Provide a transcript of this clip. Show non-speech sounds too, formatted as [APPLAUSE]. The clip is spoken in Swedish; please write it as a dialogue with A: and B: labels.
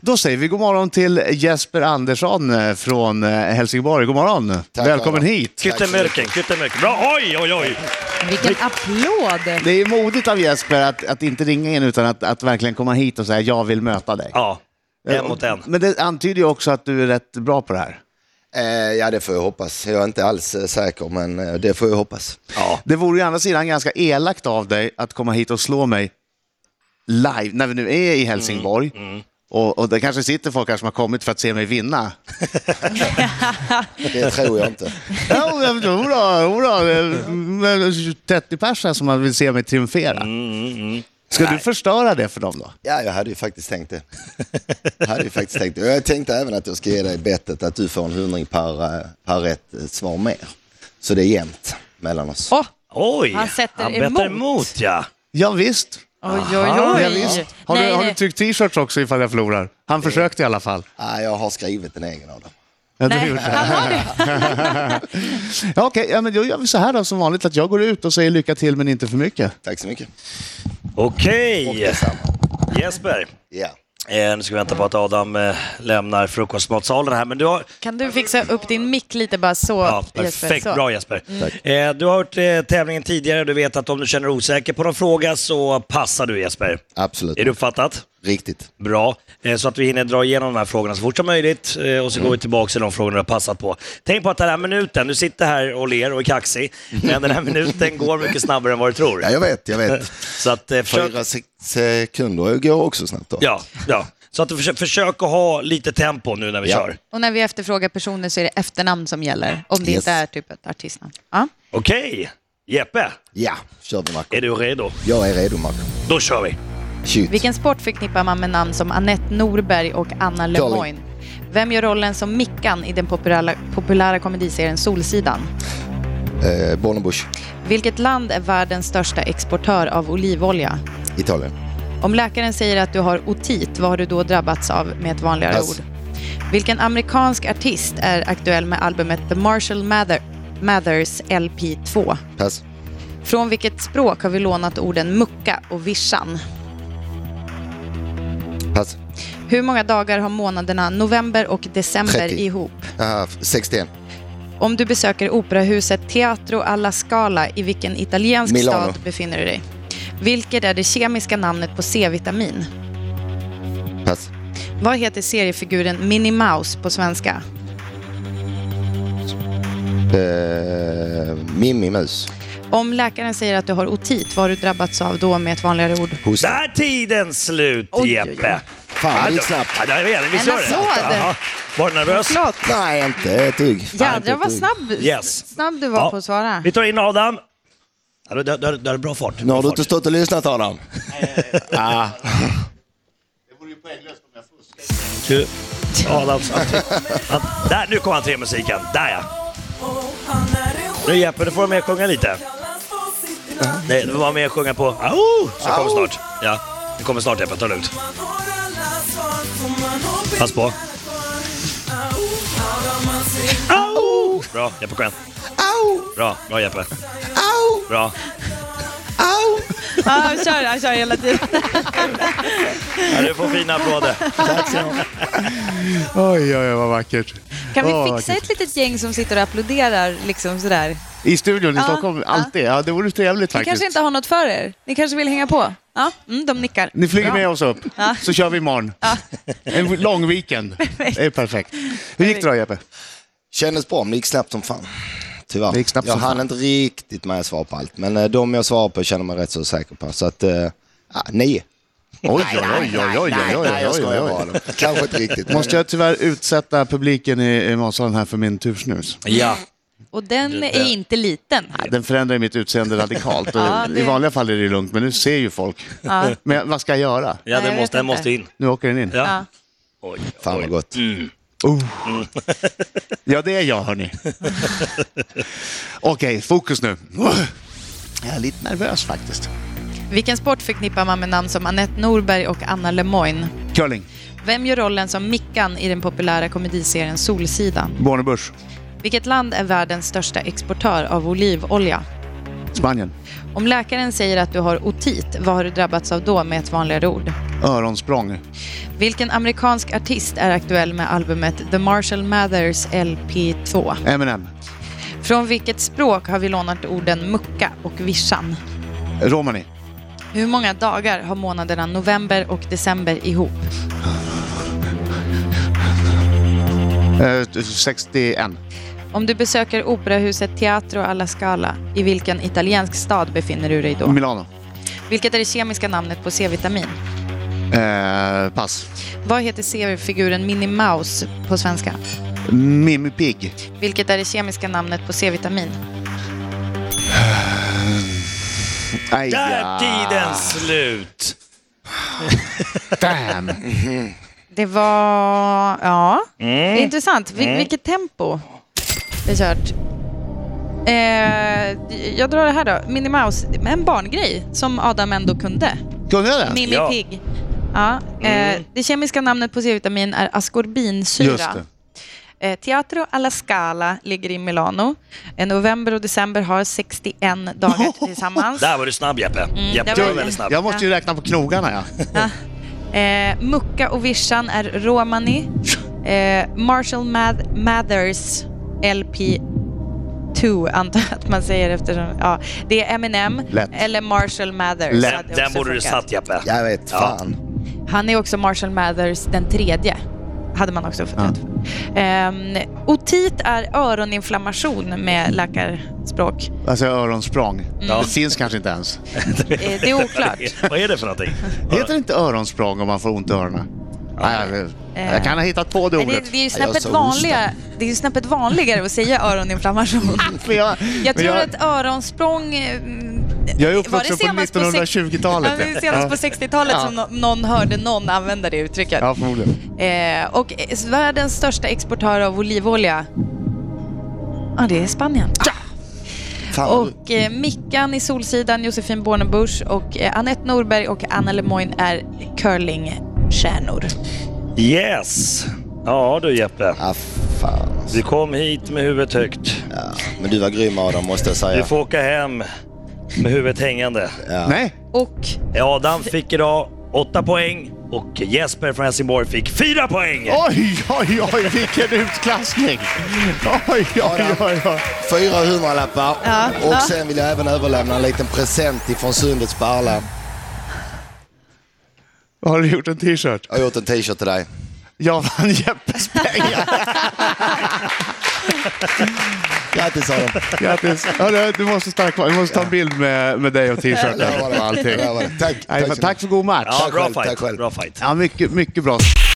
A: Då säger vi god morgon till Jesper Andersson eh, från Helsingborg. God morgon!
B: Tack,
A: Välkommen
B: Adam.
A: hit!
C: Kyttemörken, kyttemörken. Bra, oj, oj, oj!
D: Vilken applåd!
A: Det är modigt av Jesper att, att inte ringa in utan att, att verkligen komma hit och säga jag vill möta dig.
C: Ja, en mot en.
A: Men det antyder ju också att du är rätt bra på det här.
B: Eh, ja, det får jag hoppas. Jag är inte alls eh, säker, men eh, det får jag hoppas.
C: Ja.
A: Det vore ju å andra sidan ganska elakt av dig att komma hit och slå mig live, när vi nu är i Helsingborg. Och, och det kanske sitter folk här som har kommit för att se mig vinna.
B: Det tror jag inte.
A: Ja, men jodå, jodå. Men 30 eh, pers här som vill se mig triumfera. Ska du förstöra det för dem då?
B: Ja, jag hade ju faktiskt tänkt det. Jag hade ju faktiskt tänkt det. Och Jag tänkte även att jag ska ge dig bettet att du får en hundring per, eh, per rätt eh, svar mer. Så det är jämnt mellan oss.
D: Åh,
C: Oj!
D: Han sätter
C: han betar
D: emot.
C: emot ja.
A: Ja, visst.
D: oj, oj,
A: Ja,
D: oj.
A: ja, visst. Har,
D: Nej,
A: du, har du
D: nej.
A: tryckt t-shirts också ifall jag förlorar? Han försökte i alla fall.
B: Ah, jag har skrivit en egen av dem.
A: Ja, det
D: Nej,
A: gjorde
D: han har det.
A: jag. ja, okej, ja, men då gör vi så här då som vanligt, att jag går ut och säger lycka till men inte för mycket.
B: Tack så mycket.
C: Okej,
B: Detsamma.
C: Jesper.
B: Ja.
C: Eh, nu ska vi vänta på att Adam eh, lämnar frukostmatsalen här, men du har...
D: Kan du fixa upp din mick lite bara så,
C: Ja,
D: Jesper?
C: perfekt,
D: så.
C: bra Jesper. Eh, du har hört eh, tävlingen tidigare, du vet att om du känner dig osäker på någon fråga så passar du Jesper.
B: Absolut.
C: Är det uppfattat?
B: Riktigt.
C: Bra, eh, så att vi hinner dra igenom de här frågorna så fort som möjligt eh, och så
B: Mm.
C: går vi tillbaka till de frågorna du har passat på. Tänk på att den här minuten, du sitter här och ler och är kaxig, men den här minuten går mycket snabbare än vad du tror.
B: Mm. Ja, jag vet, jag
C: [LAUGHS]
B: vet.
C: Så att, eh, försök,
B: Fyra sek- sekunder går också snabbt då.
C: ja, ja. så att du försök, försök att ha lite tempo nu när vi
B: Ja.
C: kör.
D: Och när vi efterfrågar personer så är det efternamn som gäller, om det
B: Yes.
D: inte är typ ett artistnamn. Ja.
C: Okej, Jeppe,
B: Ja, kör vi Marco.
C: är du redo?
B: Jag är redo Marco.
C: Då kör vi.
B: Shoot.
D: Vilken sport förknippar man med namn som Annette Norberg och Anna Lemoine? Vem gör rollen som Mickan i den populära, populära komediserien Solsidan?
B: Eh, Bornebusch,
D: Vilket land är världens största exportör av olivolja?
B: Italien.
D: Om läkaren säger att du har otit, vad har du då drabbats av med ett vanligare
B: Pass.
D: ord? Vilken amerikansk artist är aktuell med albumet The Marshall Mather, Mathers LP2?
B: Pass.
D: Från vilket språk har vi lånat orden mucka och vischan?
B: Pass.
D: Hur många dagar har månaderna november och december
B: 30.
D: ihop?
B: Ah, 61.
D: Om du besöker operahuset Teatro alla Scala, i vilken italiensk
B: Milano.
D: stad befinner du dig? Vilket är det kemiska namnet på C-vitamin?
B: Pass.
D: Vad heter seriefiguren Minnie Mouse på svenska?
B: Eh, Mimmi Mus.
D: Om läkaren säger att du har otit, vad har du drabbats av då med ett vanligare ord?
C: Där är tiden slut
D: Oj, oj, oj.
C: Jeppe.
B: Fan, det gick snabbt.
C: Ja, det är det. Visst gör det?
D: En applåd.
C: Ja. Var du nervös?
D: Klart.
B: Nej, inte ett dugg. Fan, inte
D: Jädrar
B: ett
D: vad
B: dugg.
D: snabb,
C: Yes.
D: snabb du var
C: Ja.
D: på att svara.
C: Vi tar in Adam. Ja, du, du, du, du har bra fart.
B: Nu har du
C: Bra
B: inte
C: fart.
B: stått och lyssnat Adam. ah,
C: Du- Adam, att, alltså, att, där, nu kommer han till musiken. Där ja. Nu Jeppe, du får vara med och sjunga lite. Nej, du får vara med och sjunga på Au! Som kommer snart. Ja, det kommer snart Jeppe, ta det lugnt. Pass på. Au! Bra Jeppe, kom igen.
B: au,
C: Bra, bra Jeppe.
B: au,
C: Bra.
B: au.
D: Ja, han kör, han kör hela tiden.
C: Ja, du får fina applåder.
A: Oj, oj, oj, vad vackert.
D: [LAUGHS] Kan
A: Åh,
D: vi
A: vad
D: fixa
A: vackert.
D: ett litet gäng som sitter och applåderar liksom sådär? Ni
A: I studion i
D: Ja,
A: Stockholm,
D: ja.
A: alltid. Ja, det vore trevligt faktiskt.
D: kanske inte har något för er? Ni kanske vill hänga på? Ja, mm, de nickar.
A: Ni flyger
D: Bra.
A: med oss upp, så kör vi imorgon. En lång
D: [LAUGHS]
A: weekend. Det är perfekt. Hur gick det då, Jeppe?
B: Kändes bra, men det gick snabbt som fan. Tyvärr.
A: Det gick snabbt
B: jag
A: som
B: hann
A: fan.
B: inte riktigt med att svara på allt, men eh, de jag svarar på känner man rätt så säker på. Så att, eh, ah, nio.
A: Oj, oj, oj, oj, oj, oj,
B: Nej,
A: oj,
B: jag
A: oj,
B: skojar
A: oj.
B: bara. Adam. Kanske inte riktigt. men-
A: Måste jag tyvärr utsätta publiken i, i matsalen här för min tursnus?
C: Ja.
D: Och den är inte liten.
A: Nej, Den förändrar ju mitt utseende [LAUGHS] radikalt. Och
D: Ja, det-
A: I vanliga fall är det ju lugnt, men nu ser ju folk.
D: Ja.
A: Men vad ska jag göra?
C: Ja,
D: Nej,
C: den
D: jag
C: måste,
D: vet
C: den måste in.
A: Nu åker den in. Oh.
C: Ja.
D: Ja.
C: Oj,
B: Fan vad gott.
A: Mm. Ja, det är jag, hörni. Okej, fokus nu. Jag är lite nervös faktiskt.
D: Vilken sport förknippar man med namn som Annette Norberg och Anna Lemoine?
A: Curling,
D: Vem gör rollen som Mickan i den populära komediserien Solsidan?
A: Bornebusch,
D: Vilket land är världens största exportör av olivolja?
A: Spanien.
D: Om läkaren säger att du har otit, vad har du drabbats av då med ett vanligare ord?
A: Öronsprång.
D: Vilken amerikansk artist är aktuell med albumet The Marshall Mathers LP2?
A: Eminem.
D: Från vilket språk har vi lånat orden mucka och vischan?
A: Romani.
D: Hur många dagar har månaderna november och december ihop?
A: Eh, 61.
D: Om du besöker operahuset Teatro alla Scala, i vilken italiensk stad befinner du dig då?
A: Milano.
D: Vilket är det kemiska namnet på C-vitamin?
A: Eh, pass.
D: Vad heter C-figuren Minnie Mouse på svenska?
A: Mimmi Pigg.
D: Vilket är det kemiska namnet på C-vitamin?
A: Aj,
C: Där
A: ja.
C: tiden slut!
A: Damn.
D: Det var... Ja,
C: Mm.
D: det är intressant. Vil- Vilket tempo det är kört. Eh, jag drar det här då. Minnie Mouse, en barngrej som Adam ändå kunde.
A: Kunde jag det?
D: Mimmi
C: Ja. Mm.
D: Pigg. Ja, eh, det kemiska namnet på C-vitamin är askorbinsyra.
A: Just det.
D: Eh, Teatro alla Scala ligger i Milano. Eh, november och december har 61 dagar tillsammans.
C: Där var du snabb Jeppe. Jeppe,
D: Mm, där
C: du
D: var
C: var
D: jag.
C: väldigt snabb.
A: Jag måste ju räkna på knogarna, ja.
D: Eh, Mucka och Vischan är Romani. Eh, Marshall Math- Mathers LP 2 antar jag att man säger eftersom... Ja, det är Eminem
A: Lätt.
D: eller Marshall Mathers.
A: Lätt.
D: hade
C: Den
D: också
C: borde du
D: funkat.
C: satt Jeppe.
B: Jag vet
C: Ja.
B: fan.
D: Han är också Marshall Mathers den tredje. Hade man också fått rätt för. Ehm, otit är öroninflammation med läkarspråk.
A: Alltså öronsprång.
D: Mm.
C: Ja.
A: Det finns kanske inte ens.
D: Eh, det är oklart.
C: Vad är det för någonting?
A: Heter det inte öronsprång om man får ont i öronen? Nej, jag, jag kan ha hittat på det
D: Eh. Nej, Det,
A: ordet.
D: det är ju
B: Jag
D: snäppet
B: sa
D: vanliga, det är ju snäppet vanligare att säga öroninflammation.
A: Men jag, men
D: Jag tror
A: jag,
D: att öronsprång... eh,
A: jag är
D: var det
A: uppvuxen på
D: senast på sex-
A: 1920-talet.
D: Ja, det är senast på 60-talet
A: Ja.
D: som no- någon hörde någon använda det uttrycket.
A: Ja, förmodligen.
D: Eh, och eh, världens största exportör av olivolja, ja det är Spanien.
B: fan.
D: Och eh, Mickan i Solsidan, Josefin Bornebusch och eh, Anette Norberg och Anna Lemoine är curlingstjärnor.
C: Yes! Ja du Jeppe.
B: Ja, fan. alltså.
C: Du kom hit med huvudet högt.
B: Ja. Men du var grym Adam måste jag
C: Du
B: säga.
C: får åka hem med huvudet hängande.
B: Ja.
A: Nej,
D: Och
C: Adam fick idag åtta poäng och Jesper från Helsingborg fick fyra poäng.
A: oj, oj, oj, vilken utklassning! Oj, oj, oj, oj.
B: 400 lappar.
D: Ja. Ja.
B: Och sen vill jag även överlämna en liten present ifrån Sundets Barla.
A: Har du gjort en t-shirt?
B: Jag har gjort en t-shirt till dig.
A: Jag vann Jeppes pengar.
B: Grattis Adam.
A: Grattis. Hörru, Du måste stanna kvar. Vi måste ta en bild med, med dig och t-shirten
B: Lovade.
A: och allting.
B: Lovade. Tack.
A: Nej,
B: så
A: men
B: mycket.
A: Tack för god match.
C: Ja, bra
B: själv, tack
C: fight.
B: själv.
C: Bra fight.
A: Ja, mycket, mycket bra.